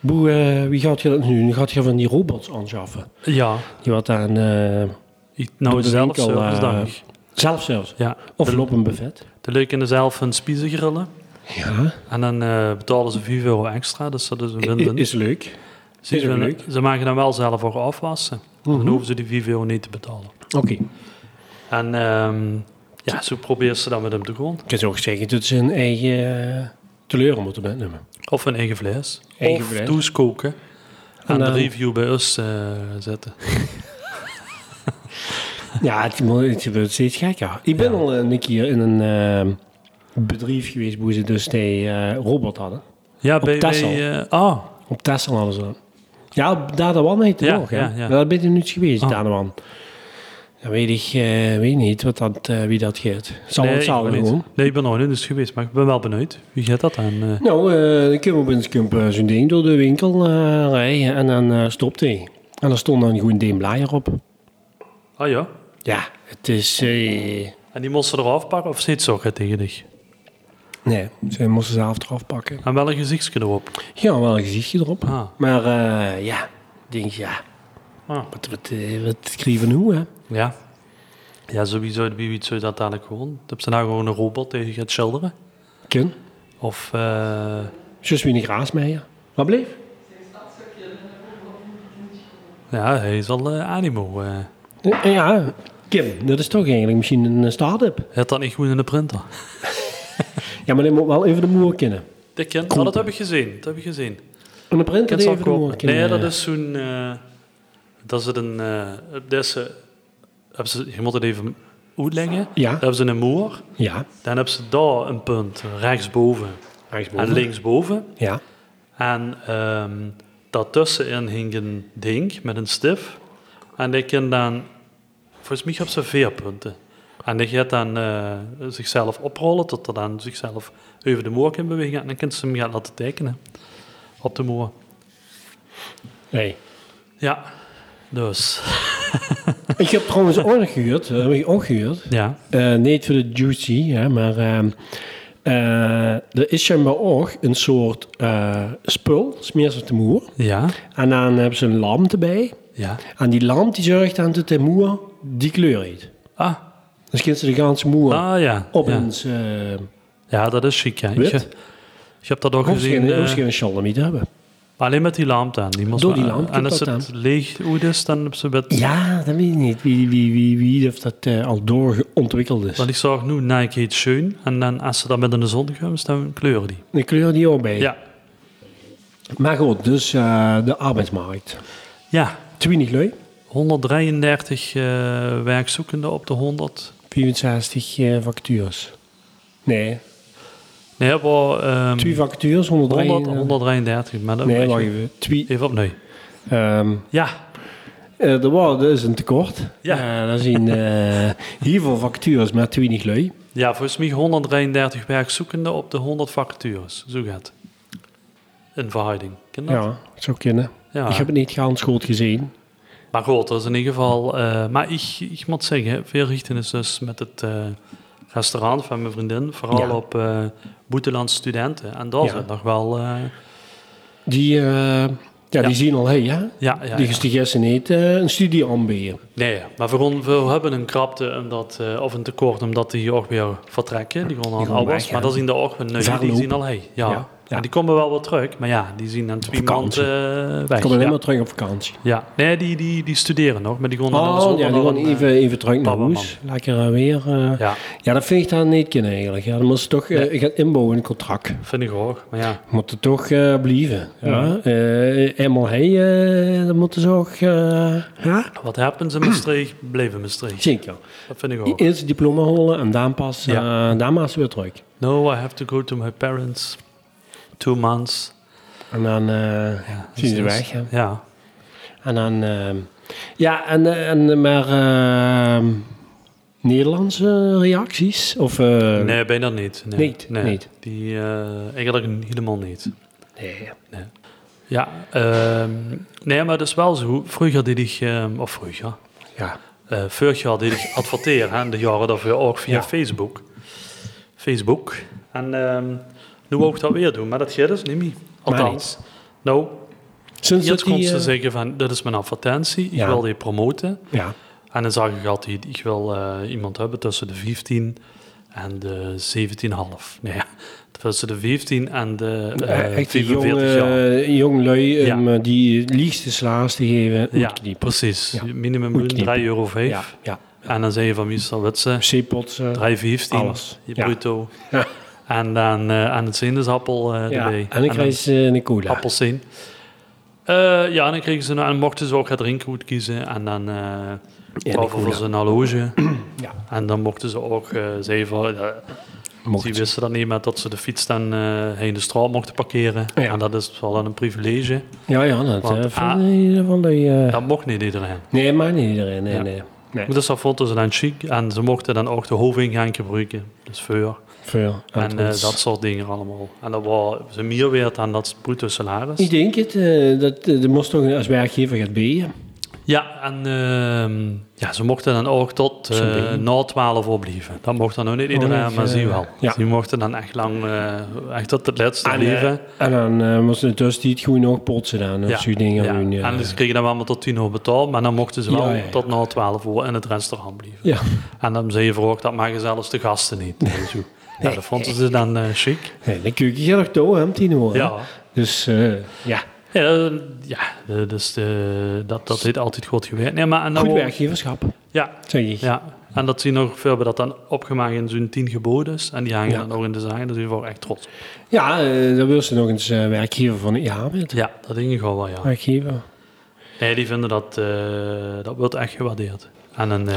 S2: Boe, eh, wie gaat je dat nu? Nu gaat je van die robots aanschaffen.
S1: Ja,
S2: Die wat aan eh
S1: ik-
S2: Door
S1: nou
S2: de
S1: zelf
S2: winkel,
S1: zelfs
S2: eh,
S1: dank.
S2: zelf zelfs.
S1: Ja,
S2: Of
S1: de,
S2: op een buffet.
S1: de leuk in zelf een spiezen grillen.
S2: Ja,
S1: En dan eh, betalen ze 4 euro extra, dus dat is een
S2: i-
S1: win-win.
S2: is leuk.
S1: ze,
S2: is ook
S1: winnen-
S2: leuk.
S1: ze maken dan wel zelf voor afwassen. Dan
S2: Mhm.
S1: hoeven ze die 4 euro niet te betalen.
S2: Oké.
S1: En ehm, ja, zo probeert ze dan met hem te grond.
S2: Ik kan zo zeggen dat ze een eigen eh, teleur moeten metnemen.
S1: Of een eigen vlees.
S2: Eigen
S1: of
S2: vlees.
S1: toes koken. En,
S2: En
S1: de
S2: dan-
S1: review bij ons eh, zetten.
S2: Ja, het, mo- het wordt steeds gekker. Ik ben al een keer in een eh, bedrijf geweest waar ze dus die eh, robot hadden.
S1: Ja, bij...
S2: Texel.
S1: bij, eh, ah,
S2: Op Tesla hadden ze dat. Ja, op Dadawan heette het
S1: Ja,
S2: nog. hè.
S1: ja, ja.
S2: Maar dat ben je nu eens geweest,
S1: Oh.
S2: Dadawan. Dan weet ik eh, weet niet wat dat, eh, wie dat geeft. Zal
S1: nee,
S2: het zal
S1: ik ben
S2: gewoon.
S1: niet. Nee, ik ben nog niet eens geweest, maar ik ben wel benieuwd. Wie gaat dat aan? eh?
S2: Nou, eh, dan kunnen we op een kump, eh, zo'n ding door de winkel eh, rijden en dan eh, stopt hij. En dan stond dan gewoon Deem Blaaier op.
S1: Ah ja.
S2: Ja, het is... eh,
S1: En die moesten eraf pakken of zit ze ook tegen dich?
S2: nee, ze moesten ze zelf eraf pakken.
S1: En wel een gezichtsje erop.
S2: Ja, wel een gezichtje erop.
S1: Ah.
S2: Maar eh, ja, ik denk ja,
S1: Ah.
S2: wat, wat, eh, wat schrijven we nu, hè?
S1: Ja. Ja, sowieso. Wie weet zou je eh, dat dadelijk gewoon... Dat ze nou gewoon een robot tegen gaat schilderen.
S2: Kun.
S1: Of... eh,
S2: Zus wie een graasmeijer. Wat bleef?
S1: ja, hij is al eh, animo. eh.
S2: Eh, eh, ja, Kim, dat is toch eigenlijk misschien een eh, start-up.
S1: Hij had dat niet goed in de printer.
S2: Ja, maar die moet wel even de moer kennen.
S1: Dat ken-
S2: Kopen.
S1: oh, dat heb ik gezien. Dat heb ik gezien.
S2: En de printer
S1: Kent
S2: die
S1: ze al
S2: even de moer
S1: kopen.
S2: kennen.
S1: Nee, dat is zo'n... eh, dat is het een... eh dat is, eh, hebben ze, je moet het even uitleggen.
S2: Ja.
S1: Dan hebben ze een moer.
S2: Ja.
S1: Dan hebben ze daar een punt, rechtsboven
S2: Rechtsboven.
S1: en linksboven.
S2: Ja.
S1: En ehm daartussenin hing een ding met een stif. En die kan dan, volgens mij hebben ze vier punten. En die gaat dan eh, zichzelf oprollen tot er dan zichzelf over de moor kan bewegen. En dan kan ze hem gaan laten tekenen op de moor.
S2: Nee.
S1: Ja, dus.
S2: Ik heb
S1: [LAUGHS]
S2: trouwens ook nog gehuurd, dat heb ik ook gehuurd.
S1: Ja.
S2: Eh, niet voor de juicy, hè, maar ehm, eh, er is schijnbaar ook een soort eh, spul, smeer ze op de moer.
S1: Ja.
S2: En dan hebben ze een lamp erbij.
S1: Ja.
S2: En die lamp die zorgt dan dat de moer die kleur heeft.
S1: Ah,
S2: Dus kunnen ze de ganse moer
S1: ah ja.
S2: op
S1: ja.
S2: eens... eh
S1: ja, dat is chic. hè.
S2: Wit.
S1: Je, je hebt dat ook
S2: of ze
S1: gezien.
S2: geen- of ze
S1: eh,
S2: geen shalom hebben.
S1: Maar alleen met die lamp dan. Die moest
S2: Door die
S1: maar-
S2: lamp
S1: En
S2: komt
S1: als
S2: dat
S1: het leeg uit is, dan heb ze wat...
S2: Ja, dat weet ik niet. Wie, wie, wie, wie of dat eh, al doorontwikkeld is.
S1: Want ik zag nu Nike heet schoon. En dan als ze dat met in de zon komt, dan kleuren die.
S2: De kleur die ook bij.
S1: Ja.
S2: Maar goed, dus eh, de arbeidsmarkt.
S1: Ja.
S2: 20 lui.
S1: 133 eh, werkzoekenden op de 100.
S2: 64 eh, vacatures. Nee,
S1: Nee, maar... ehm,
S2: 2 vacatures, 103.
S1: 100, 133. Maar dat
S2: nee,
S1: weet
S2: wacht
S1: je-
S2: even. Twee,
S1: Even opnieuw.
S2: ehm,
S1: Ja.
S2: Eh, er was dus een tekort.
S1: Ja.
S2: Ja. dan zien eh heel veel vacatures met 20 lui.
S1: Ja, volgens mij 133 werkzoekenden op de 100 vacatures. Zo gaat het. In verhouding. Ken dat?
S2: Ja, zou kunnen.
S1: Ja.
S2: Ik heb het niet gehandschoot gezien.
S1: Maar goed, dat is in ieder geval... eh, maar ik, ik moet zeggen, veel richten is dus met het eh, restaurant van mijn vriendin. Vooral
S2: Ja.
S1: op eh buitenlandse studenten. En daar
S2: Ja.
S1: zijn nog wel... eh,
S2: Die, eh, ja,
S1: Ja.
S2: die zien al, hé, ja.
S1: ja, ja,
S2: die
S1: ja.
S2: is die gasten niet eh, een studie aanbieden.
S1: Nee, maar voor ons, we hebben een krapte omdat, eh, of een tekort omdat die ook weer vertrekken. Die gaan aan
S2: gaan
S1: alles.
S2: weg,
S1: Maar
S2: hè.
S1: dan zien de ook weer nee, Die
S2: Verloop.
S1: zien al hey. Ja.
S2: Ja, ja.
S1: En die komen wel weer terug. Maar ja, die zien dan twee
S2: vakantie.
S1: maanden eh, weg.
S2: Ik kom alleen
S1: ja.
S2: maar terug op vakantie.
S1: Ja, nee, die, die, die studeren nog, maar die gaan dan in de
S2: Oh,
S1: zomer
S2: ja, die
S1: dan,
S2: gaan
S1: eh,
S2: even, even terug naar
S1: papa,
S2: huis. Lekker eh, weer. eh. ja.
S1: Ja,
S2: dat vind ik dan niet kunnen eigenlijk. Ja, dan moet ze toch eh, gaan inbouwen in een contract.
S1: vind ik ook. Maar ja,
S2: Moeten toch eh blijven. Ja. Eh, eenmaal hé, eh, dan moeten ze ook... eh, ja?
S1: wat happens in Maastricht, blijven Maastricht.
S2: Zeker.
S1: Dat vind ik
S2: Die
S1: ook.
S2: eerste diploma halen en dan pas, eh
S1: Ja.
S2: dan maar ze weer terug.
S1: No, I have to go to my parents. Two months.
S2: En dan eh,
S1: Ja,
S2: zien ze
S1: dus-
S2: weg. hè.
S1: Ja.
S2: En dan, eh, ja, en, eh, en maar eh, Nederlandse reacties? Of, eh,
S1: Nee, bijna niet. Nee,
S2: Niet,
S1: nee.
S2: niet.
S1: Die eh, eigenlijk helemaal niet.
S2: nee.
S1: Ja, ehm, nee, maar dat is wel zo. Vroeger deed ik, ehm, of vroeger,
S2: Ja.
S1: [LAUGHS] eh vorig jaar deed ik adverteren, hè, de jaren daarvoor ook via
S2: Ja.
S1: Facebook. Facebook. En ehm nu wou ik dat weer doen, maar dat gaat dus niet meer. Althans, nou,
S2: Sinds
S1: eerst
S2: dat
S1: kon
S2: die,
S1: ze
S2: eh,
S1: zeggen van, dit is mijn advertentie, ik
S2: Ja.
S1: wil die promoten.
S2: ja,
S1: En dan zag ik altijd, ik wil eh, iemand hebben tussen de 15 en de 17,5. Nee, ja, tussen de 15 en de eh
S2: eh, echt die
S1: 45
S2: jonge,
S1: jaar.
S2: jong lui
S1: Ja.
S2: om eh, die liefste slaas te geven.
S1: Ja,
S2: Oetkniep.
S1: precies.
S2: eh, Ja.
S1: Minimum
S2: Moet knippen.
S1: 3,5 euro.
S2: Ja, ja.
S1: En dan zei je van, wie zal dat ze?
S2: C-pots. eh,
S1: 3,15.
S2: Alles.
S1: je
S2: Ja.
S1: Bruto.
S2: Ja.
S1: En dan eh en het sinaasappel eh
S2: ja.
S1: erbij.
S2: En ik
S1: dan-
S2: krijg eh, een cola.
S1: appels zien. Eh, ja, en dan kregen ze nou, en mochten ze ook het drinkgoed kiezen. En dan eh
S2: die
S1: gaven we
S2: cola.
S1: ze een horloge.
S2: [CLEARS THROAT] Ja.
S1: En dan mochten ze ook eh zeggen van... eh,
S2: Mocht.
S1: die wisten dat niet, maar dat ze de fiets dan eh heen de straat mochten parkeren.
S2: Ja.
S1: En dat is wel dan een privilege.
S2: Ja, ja, dat
S1: Want,
S2: eh,
S1: ah,
S2: van in ieder geval die, eh,
S1: Dat mocht niet iedereen.
S2: Nee, maar niet iedereen. Nee,
S1: Ja.
S2: nee. nee.
S1: Dus dat vonden ze dan chic. En ze mochten dan ook de hoofdingang gebruiken. Dus vuur.
S2: Veel.
S1: En eh, dat soort dingen allemaal. En dat was ze meer weer dan dat bruto salaris.
S2: Ik denk het, eh, dat eh, er moest toch als werkgever gaat bieden.
S1: Ja, en ehm, ja, ze mochten dan ook tot eh,
S2: Zo'n ding.
S1: na 12 opblijven. Dat mocht dan ook niet iedereen,
S2: niet,
S1: maar
S2: eh,
S1: zie wel.
S2: ja.
S1: Die mochten dan echt lang, eh, echt tot het laatste
S2: En, eh,
S1: leven.
S2: En dan eh, moest het dus die het gewoon nog potsen dan. Of zo'n dingen
S1: ja.
S2: doen.
S1: En dus-
S2: Ja.
S1: ze kregen dan allemaal tot 10 uur betaald, maar dan mochten ze wel
S2: Ja, ja, ja.
S1: tot na 12 uur in het restaurant blijven.
S2: ja. [LAUGHS]
S1: En dan zei je voor ook, dat mogen zelfs de gasten niet. Dus, hoe- ja, dat vonden ze dan eh, chic.
S2: Nee, dan kun je je nog toe, hè, om tien uur. hè.
S1: Ja,
S2: Dus eh, ja,
S1: ja, eh, ja eh, dus eh, dat, dat heeft altijd goed gewerkt. Nee, maar, en dan
S2: goed
S1: wou-
S2: werkgeverschap,
S1: Ja,
S2: zeg ik.
S1: Nou, oh. Ja, en dat zien nog veel hebben dat dan opgemaakt in zo'n tien geboden. En die hangen
S2: Ja.
S1: dan nog in de zagen. Dus die waren echt trots.
S2: Ja, eh, dan wil ze nog eens eh, werkgever van het jaar met.
S1: Ja, dat ging gewoon wel, ja.
S2: Werkgever.
S1: Nee, die vinden dat, eh, dat wordt echt gewaardeerd. En een eh,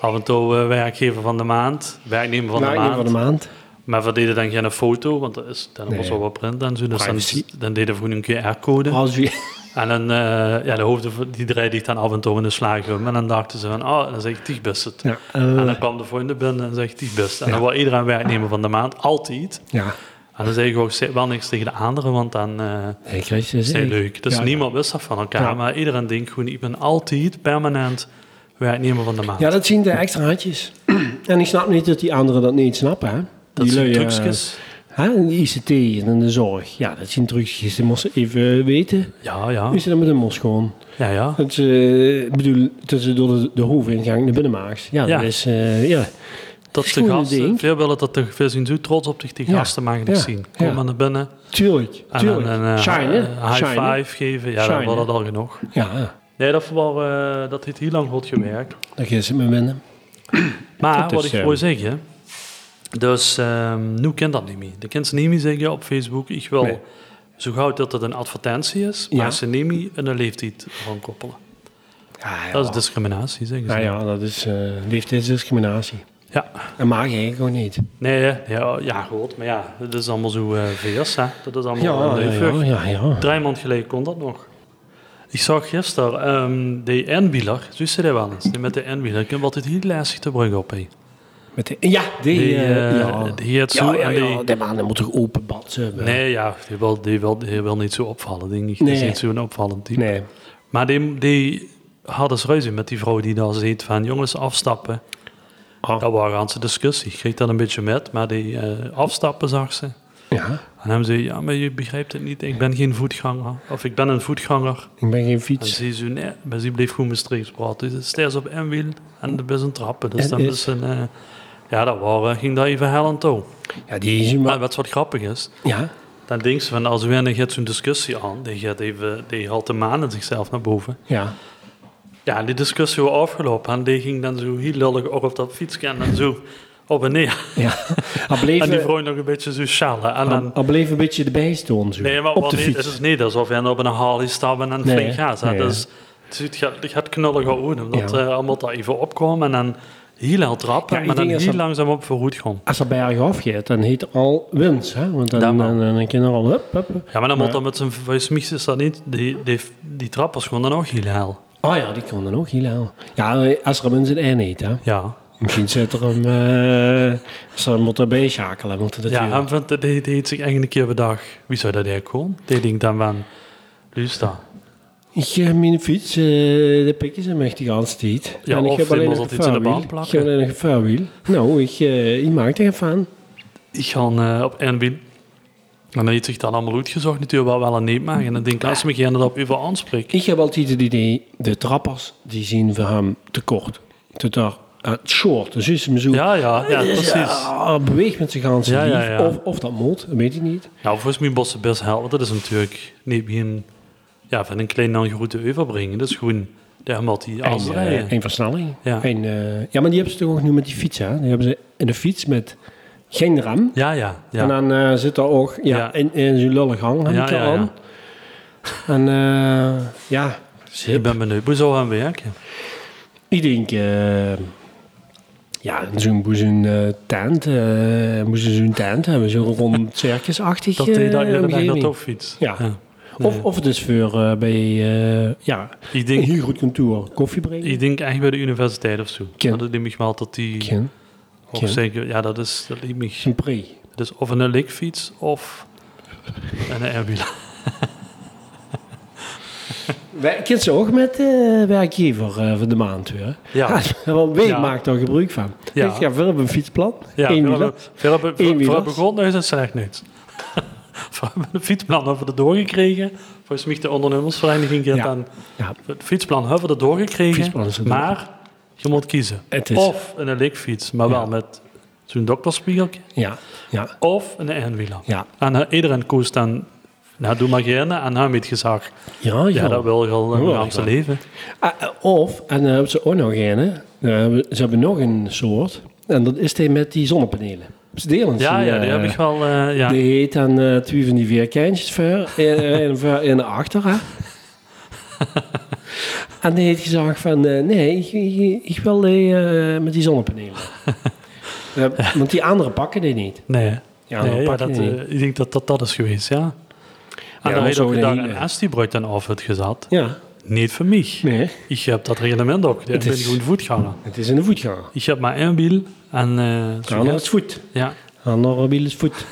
S1: [LAUGHS] af en toe eh, werkgever van de maand, werknemer van de
S2: Werkgever
S1: maand.
S2: van de maand.
S1: Maar we deden dan geen foto, want dat is, dan
S2: Nee.
S1: was al wat print en zo. Dus dan,
S2: Privacy. Ah.
S1: dan deden we gewoon een QR-code.
S2: Als wie...
S1: En dan, eh, ja, de hoofden, die draaide ik dan af en toe in de slaagrum. En dan dachten ze van, oh, dan zeg ik, die best het.
S2: Ja,
S1: En
S2: eh,
S1: dan kwam de volgende binnen en zegt die best. En dan wordt iedereen werknemer van de maand, altijd.
S2: ja.
S1: En dan zeg ik ook zeg wel niks tegen de anderen, want dan eh,
S2: Nee, Chris, dat is
S1: is het
S2: echt-
S1: leuk. Dus
S2: Ja,
S1: niemand wist dat van elkaar,
S2: Ja.
S1: maar iedereen denkt gewoon, ik ben altijd permanent werknemer van de maand.
S2: Ja, dat zien de extra hartjes. [CLEARS THROAT] en ik snap niet dat die anderen dat niet snappen, hè.
S1: dat
S2: die
S1: zijn
S2: lui, eh,
S1: trucjes.
S2: hè, in de ICT en in de zorg. Ja, dat zijn trucjes. Die moesten even weten.
S1: Ja, ja.
S2: Hoe ze dat met de mos gewoon?
S1: Ja, ja.
S2: Dat ze, ik bedoel, tussen door de, de hoofdingang naar binnenmaaks. Ja,
S1: Ja.
S2: dat is... eh, ja.
S1: Dat de
S2: Schoenen
S1: gasten,
S2: ding.
S1: veel willen dat de, veel zijn zo trots op zich, die
S2: Ja.
S1: gasten mag ik niet
S2: Ja.
S1: zien.
S2: Ja.
S1: Kom maar naar binnen
S2: Tuurlijk,
S1: en
S2: tuurlijk.
S1: dan een eh,
S2: Shine, hè?
S1: eh, high
S2: Shine, hè?
S1: five geven. Ja,
S2: Shine,
S1: dan wordt
S2: hè?
S1: dat al genoeg.
S2: Ja,
S1: Nee, dat, wel, eh, dat heeft heel lang goed gewerkt.
S2: dat is het me winnen.
S1: Maar
S2: Dat
S1: wat
S2: is,
S1: ik
S2: eh,
S1: wil zeggen, dus ehm, nu kent dat niet meer. De kind ze niet meer zeggen op Facebook, ik wil
S2: Nee.
S1: zo gauw dat het een advertentie is,
S2: Ja.
S1: maar ze niet meer een leeftijd van koppelen.
S2: Ja, ja.
S1: Dat is discriminatie, zeggen ze.
S2: Nou ja, dat is eh leeftijdsdiscriminatie.
S1: Ja.
S2: Dat mag eigenlijk gewoon niet.
S1: Nee, hè? ja, ja, goed, maar ja, dat is allemaal zo eh VS, hè. Dat is allemaal
S2: Ja,
S1: leuk.
S2: ja, ja, ja.
S1: Drie maand geleden kon dat nog. Ik zag gisteren ehm die N-wieler, zo is hij wel eens, die met de N-wieler. Ik heb altijd heel lastig te bruggen op, hè.
S2: Met de, ja, die...
S1: Die,
S2: eh,
S1: eh,
S2: ja.
S1: die het
S2: ja,
S1: zo
S2: ja,
S1: en
S2: ja,
S1: die-
S2: die mannen moeten toch open bad hebben?
S1: Nee, ja, die wil, die, wil, die wil niet zo opvallen, denk ik. Die is
S2: Nee.
S1: niet zo'n opvallend type.
S2: Nee.
S1: Maar die, die hadden ze ruzie met die vrouw die daar zit van jongens afstappen.
S2: Ah.
S1: Dat waren aan discussie. Ik kreeg dat een beetje met, maar die eh, afstappen zag ze.
S2: Ja,
S1: En hem zei, ja, maar je begrijpt het niet. Ik ben geen voetganger. Of ik ben een voetganger.
S2: ik ben geen
S1: En
S2: fiets.
S1: ze zei, nee, maar ze bleef goed met streeks praten. Ze stijgt op een wiel en de bus een trappen. Dus
S2: En
S1: dan
S2: is-
S1: is een... eh, ja, dat waren, ging dat even hel aan toe.
S2: Ja, die is
S1: Maar
S2: maar...
S1: wat, wat grappig is,
S2: Ja,
S1: dan denkt ze van, als we een zo'n discussie aan, die gaat even, die haalt de manen zichzelf naar boven.
S2: ja.
S1: Ja, en die discussie was afgelopen en die ging dan zo heel lullig ook op dat fietsje en dan zo op en neer. [LAUGHS]
S2: ja. Al bleef,
S1: En die
S2: eh,
S1: vrouw nog een beetje zo sjalen. En
S2: al,
S1: dan,
S2: al bleef een beetje erbij staan, zo.
S1: nee, maar
S2: op de
S1: nee, het
S2: fiets.
S1: is niet alsof je op een halie stapt en dan
S2: Nee,
S1: flink gaat. hè.
S2: nee.
S1: Dus het is- het gaat, het gaat knullig aan, omdat
S2: Ja.
S1: eh, allemaal dat even opkwam en dan heel hard trappen,
S2: Ja, ik
S1: maar dan
S2: denk
S1: heel
S2: dat ze-
S1: langzaal op vooruit kwam.
S2: Als dat berg afgaat, dan heet het al winst, hè? Want dan,
S1: Dan
S2: dan,
S1: wel.
S2: dan, dan kan er al... Hup, hup, hup.
S1: Ja, maar dan moet
S2: Maar-
S1: dat met zijn volgens mij is dat niet. Die, die, die trap was gewoon dan ook heel hel.
S2: Oh ja, die kon dan ook heel aan. Ja, als er mensen een einde eet, hè?
S1: Ja.
S2: Misschien zit er hem. eh ze moeten erbij schakelen. Moeten dat
S1: Ja,
S2: ja,
S1: en van, die, die heeft zich eigenlijk een keer bedacht. Wie zou dat eigenlijk gewoon? Die denkt dan van, luister.
S2: ik heb mijn fiets, eh de pikjes en echt die ganse tijd.
S1: Ja,
S2: en ik
S1: of
S2: heb
S1: die
S2: alleen
S1: moest
S2: nog
S1: dat iets in de baan
S2: vaarwiel. Ik
S1: plakken.
S2: heb alleen nog een vaarwiel. Nou, ik, eh ik maak er even van.
S1: ik ga eh, op Airbnb. En dan heeft zich dat allemaal uitgezocht natuurlijk, wat wel en niet mag. En dan denk ik, als ze me gaan dat op even aanspreken.
S2: Ik heb altijd het idee, de trappers, die zien voor hem te kort. Te daar, eh, short. Dus is hem zo...
S1: Ja, ja, ja,
S2: Ja,
S1: precies.
S2: beweeg met zijn ganse
S1: Ja, ja,
S2: lief.
S1: ja.
S2: Of, of dat moet, dat weet ik niet.
S1: Nou, volgens mij bossen best helpen. Dat is natuurlijk niet begin ja, van een klein naar een grote over brengen. Dat is gewoon, daar moet hij
S2: Een,
S1: als rijden.
S2: eh, een versnelling.
S1: Ja.
S2: Een, eh, ja, maar die hebben ze toch ook nu met die fiets, hè? Die hebben ze in de fiets met geen rem.
S1: Ja, ja, ja.
S2: En dan eh, zit er ook ja,
S1: Ja.
S2: in, in zo'n lullig hang
S1: Ja,
S2: ja,
S1: ja, ja.
S2: aan. En eh, ja,
S1: Ik ben benieuwd hoe zou hij werken.
S2: ik denk... eh, ja, zo'n zo'n eh tent, eh, moesten ze zo'n tent hebben,
S1: [LAUGHS]
S2: zo'n rond circusachtig.
S1: Dat hij
S2: eh,
S1: daar iedere dag
S2: omgeving.
S1: naartoe fietst.
S2: Ja. Of, of het is voor eh, bij, eh, ja,
S1: Ik
S2: een
S1: denk,
S2: heel goed kantoor, koffie brengen.
S1: ik denk echt bij de universiteit of zo.
S2: Ken.
S1: Dat neem ik wel dat die...
S2: Geen-
S1: Of
S2: ken.
S1: zeker, ja, dat is... Dat liep me.
S2: Geen pre.
S1: Dus of een likfiets of een
S2: [LAUGHS]
S1: Airbnb.
S2: Wij kent ze ook met eh werkgever eh, van de maand weer.
S1: Ja.
S2: [LAUGHS] Want wij
S1: Ja.
S2: maakt daar gebruik van.
S1: Ja.
S2: Ik ga verder op een fietsplan.
S1: Ja,
S2: Eén
S1: Philip-
S2: wieler.
S1: Philip- Philip
S2: wieler.
S1: Philip begon, nou is het slecht niks. [LAUGHS] We hebben een fietsplan over de doorgekregen. Volgens mij de ondernemersvereniging gaat
S2: Ja.
S1: dan...
S2: Ja.
S1: Het fietsplan hebben we er doorgekregen,
S2: Fietsplan is er door.
S1: maar je moet kiezen.
S2: Het is-
S1: Of een likfiets, maar wel
S2: Ja.
S1: met zo'n dokterspiegeltje.
S2: ja, ja,
S1: Of een eenwieler.
S2: ja.
S1: En eh, iedereen koos dan... Nou, doe maar gerne. En hij met gezag.
S2: Ja,
S1: Ja, dat wil je al
S2: Ja,
S1: een
S2: ja.
S1: zijn leven.
S2: Ah, eh, of, en dan hebben ze oh, nou, ook nog een, hè. Dan hebben- eh, ze hebben nog een soort. En dat is die met die zonnepanelen. Ze delen
S1: Ja,
S2: ze,
S1: ja, die
S2: eh,
S1: heb ik wel... eh, ja.
S2: Die heet dan eh, twee van die vierkantjes ver en, en, ver en achter.
S1: [LAUGHS]
S2: Hè? en die heeft gezegd van, eh, nee, ik, ik, ik wil die eh, met die
S1: [LAUGHS]
S2: zonnepanelen. Eh, want die anderen pakken die niet.
S1: Nee.
S2: Ja,
S1: Nee,
S2: dan
S1: ja,
S2: pak je
S1: dat,
S2: die
S1: eh,
S2: niet.
S1: ik denk dat dat, dat is geweest, ja. En
S2: Ja,
S1: dan
S2: maar
S1: heb je
S2: zo eh,
S1: ook
S2: de
S1: gedaan,
S2: hele-
S1: en als die brood dan af het gezet,
S2: Ja,
S1: niet voor mij.
S2: nee.
S1: Ik heb dat reglement ook, ik
S2: Het
S1: ben
S2: is-
S1: gewoon voetganger.
S2: Het is in de voetganger.
S1: Ik heb maar één wiel en... eh,
S2: De
S1: zo
S2: andere
S1: gaat-
S2: is voet.
S1: ja.
S2: De andere wiel is voet.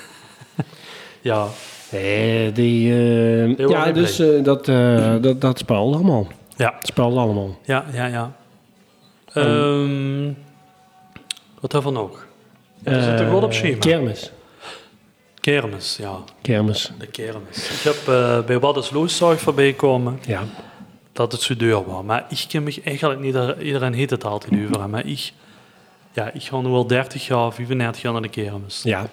S1: Ja.
S2: Nee, die... eh,
S1: wordt
S2: ja,
S1: niet
S2: dus eh, dat, eh dat, dat speelt allemaal.
S1: Ja,
S2: Het speelt allemaal.
S1: ja, ja, ja. Ehm, wat hebben we nog? Ja, we zitten
S2: Eh,
S1: goed op schema.
S2: Kermis.
S1: kermis, ja.
S2: Kermis.
S1: De kermis. Ik heb eh, bij Wat is Loos zag voorbij komen
S2: Ja.
S1: dat het zo duur was. Maar ik ken me eigenlijk niet... Iedereen heet het altijd over, maar ik... Ja, ik ga nu al 30 jaar, 35 jaar naar de kermis.
S2: Ja.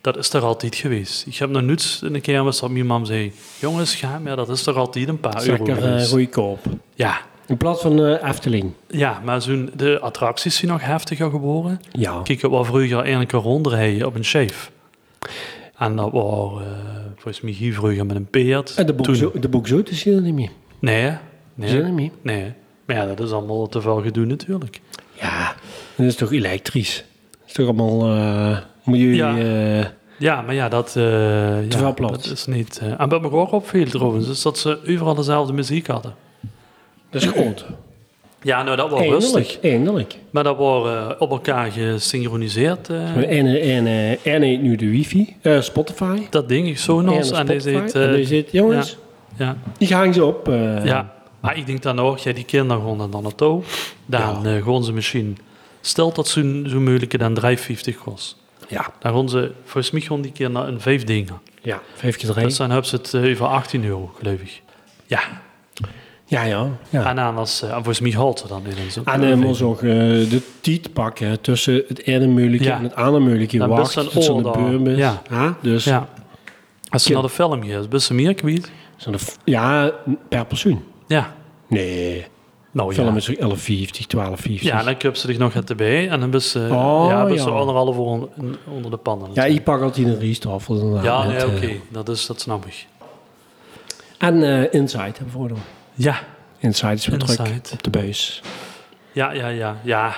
S1: Dat is er altijd geweest. Ik heb nog nooit in de kermis dat mijn mam zei... Jongens, ga maar, dat is er altijd een paar euro
S2: Lekker eh,
S1: geweest."
S2: goedkoop.
S1: Ja.
S2: In plaats van eh, Efteling.
S1: ja, maar zo'n, de attracties zijn nog heftiger geworden.
S2: Ja.
S1: Kijk, ik was vroeger eigenlijk een rondrijden op een scheef. En dat was eh, volgens mij hier vroeger met een peert.
S2: En Eh, de boek,
S1: Toen-
S2: zo, de boek zo te zien er niet meer.
S1: Nee,
S2: Te zien er
S1: nee,
S2: niet meer.
S1: nee. Maar ja, dat is allemaal te veel gedoe natuurlijk.
S2: Ja, dat is toch elektrisch. Dat is toch allemaal eh milieu...
S1: Ja.
S2: eh,
S1: Ja, maar ja, dat, eh ja,
S2: veel plat.
S1: dat is niet... eh, en wat me ook opviel trouwens, is dat ze overal dezelfde muziek hadden.
S2: dat is groot.
S1: Ja, nou, dat was rustig.
S2: Eindelijk, eindelijk.
S1: Maar dat wordt eh, op elkaar gesynchroniseerd. eh.
S2: En, eh, en, eh, en heet nu de wifi, eh, Spotify.
S1: Dat ding ik zo
S2: En
S1: nog. En
S2: Spotify.
S1: deze heet,
S2: en
S1: eh,
S2: die zit, jongens,
S1: ja,
S2: ik hang ze op. eh,
S1: ja. Maar ik denk dan ook, jij die kinderen gewoon dan naar naartoe. Dan eh, gaan ze misschien... Stel dat zo'n zo moeilijke dan 3,50 kost.
S2: ja.
S1: Dan gaan ze, volgens mij gaan die kinderen een vijf dingen.
S2: Ja, vijf keer
S1: Dus
S2: drie.
S1: dan hebben ze het eh, over 18 euro, geloof ik. Ja.
S2: Ja, ja. ja.
S1: En dan als, eh, en volgens mij haalt ze dan in een zo.
S2: En dan moet ze ook eh, de tijd pakken tussen het ene moeilijke
S1: Ja.
S2: en het andere moeilijke.
S1: Dan best
S2: Wacht,
S1: een
S2: tot ze aan de
S1: oor daar.
S2: beurt is.
S1: Ja.
S2: Huh? Dus, ja.
S1: Ja. Als ze
S2: Kind-
S1: naar de film gaan, is best meer kwijt.
S2: ja, per persoon.
S1: Ja.
S2: Nee.
S1: Nou
S2: film
S1: ja.
S2: is er 11,50, 12,50.
S1: Ja, en dan heb ze zich nog het erbij. En dan ben ze,
S2: Oh,
S1: ja, ben ze
S2: ja.
S1: anderhalf uur on- onder de pannen.
S2: ja ik pak altijd een riestafel. inderdaad,
S1: Ja,
S2: met,
S1: nee, oké.
S2: eh,
S1: Dat, is, dat snap ik.
S2: En eh, Inside hebben we voor hem.
S1: Ja.
S2: Inside is weer druk
S1: Inside.
S2: op de buis.
S1: Ja, ja, ja. Ja.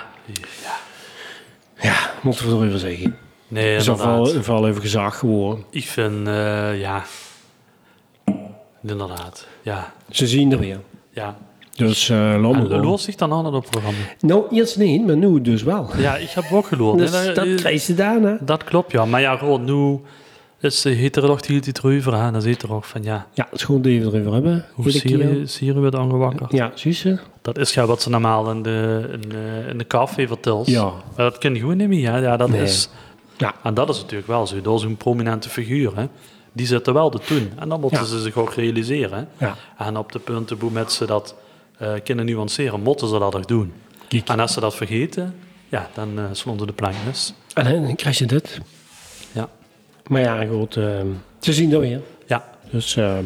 S2: Ja, moeten we erover zeggen.
S1: Nee,
S2: is al
S1: inderdaad.
S2: vooral, vooral even gezag geworden.
S1: Ik vind, eh, ja. Inderdaad. Ja.
S2: Ze zien er weer.
S1: Ja.
S2: Dus eh laat maar
S1: En
S2: gewoon.
S1: loos zich dan aan dat programma?
S2: Nou, eerst niet, maar nu dus wel.
S1: Ja, ik heb ook geloord.
S2: Dus
S1: Nee,
S2: dat
S1: eh,
S2: krijg je daarna.
S1: dat klopt, ja. Maar ja, gewoon nu is eh, de heterocht heel die erover aan. Dan zit er ook van, ja,
S2: Ja, het is goed dat we erover hebben.
S1: hoe
S2: Iedere keer.
S1: Syrië Syrië werd aangewakkerd.
S2: Ja, zie je?
S1: Dat is ja wat ze normaal in de, in de, in de café vertelt.
S2: Ja.
S1: Maar dat kan je gewoon niet meer. Ja, ja dat
S2: Nee.
S1: is...
S2: Ja.
S1: En dat is natuurlijk wel zo. Dat is een prominente figuur. Hè? Die zitten wel te doen. En dan moeten
S2: Ja.
S1: ze zich ook realiseren. hè.
S2: Ja.
S1: En op de punten hoe ze dat eh, kunnen nuanceren, moeten ze dat ook doen.
S2: Kijk.
S1: En als ze dat vergeten, ja, dan eh slaan ze de plank mis.
S2: En dan krijg je dit.
S1: Ja.
S2: Maar ja, goed. ehm, ze zien dat weer.
S1: Ja,
S2: Dus ehm,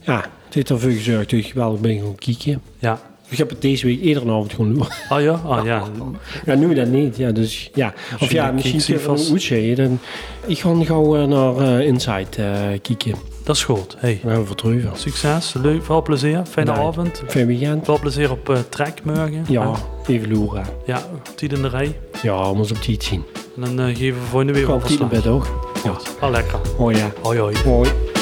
S2: ja, het heeft ervoor gezorgd dat ik wel ben gaan kieken.
S1: ja.
S2: Ik heb het deze week eerder een avond gewoon doen.
S1: Oh ja, oh ja.
S2: [LAUGHS] Ja, nu dat niet. Ja, dus, ja. Of ja,
S1: je
S2: misschien
S1: kijkt ze
S2: tegen een
S1: vast.
S2: oetje. Dan, ik ga gauw eh, naar eh, Inside eh kieken.
S1: Dat is goed. Hey.
S2: We hebben vertrouwen.
S1: Succes, leuk, veel plezier, fijne
S2: Nee.
S1: avond.
S2: Fijn weekend.
S1: Veel plezier op eh trek morgen.
S2: Ja,
S1: En,
S2: even loeren.
S1: ja, op tijd in de rij.
S2: Ja, we moeten op tijd zien.
S1: En dan eh, geven we volgende week
S2: Ik ga op tijd naar
S1: overslag.
S2: bed, hoor. Ja.
S1: Al lekker.
S2: Oh ja.
S1: Hoi hoi.
S2: Mooi.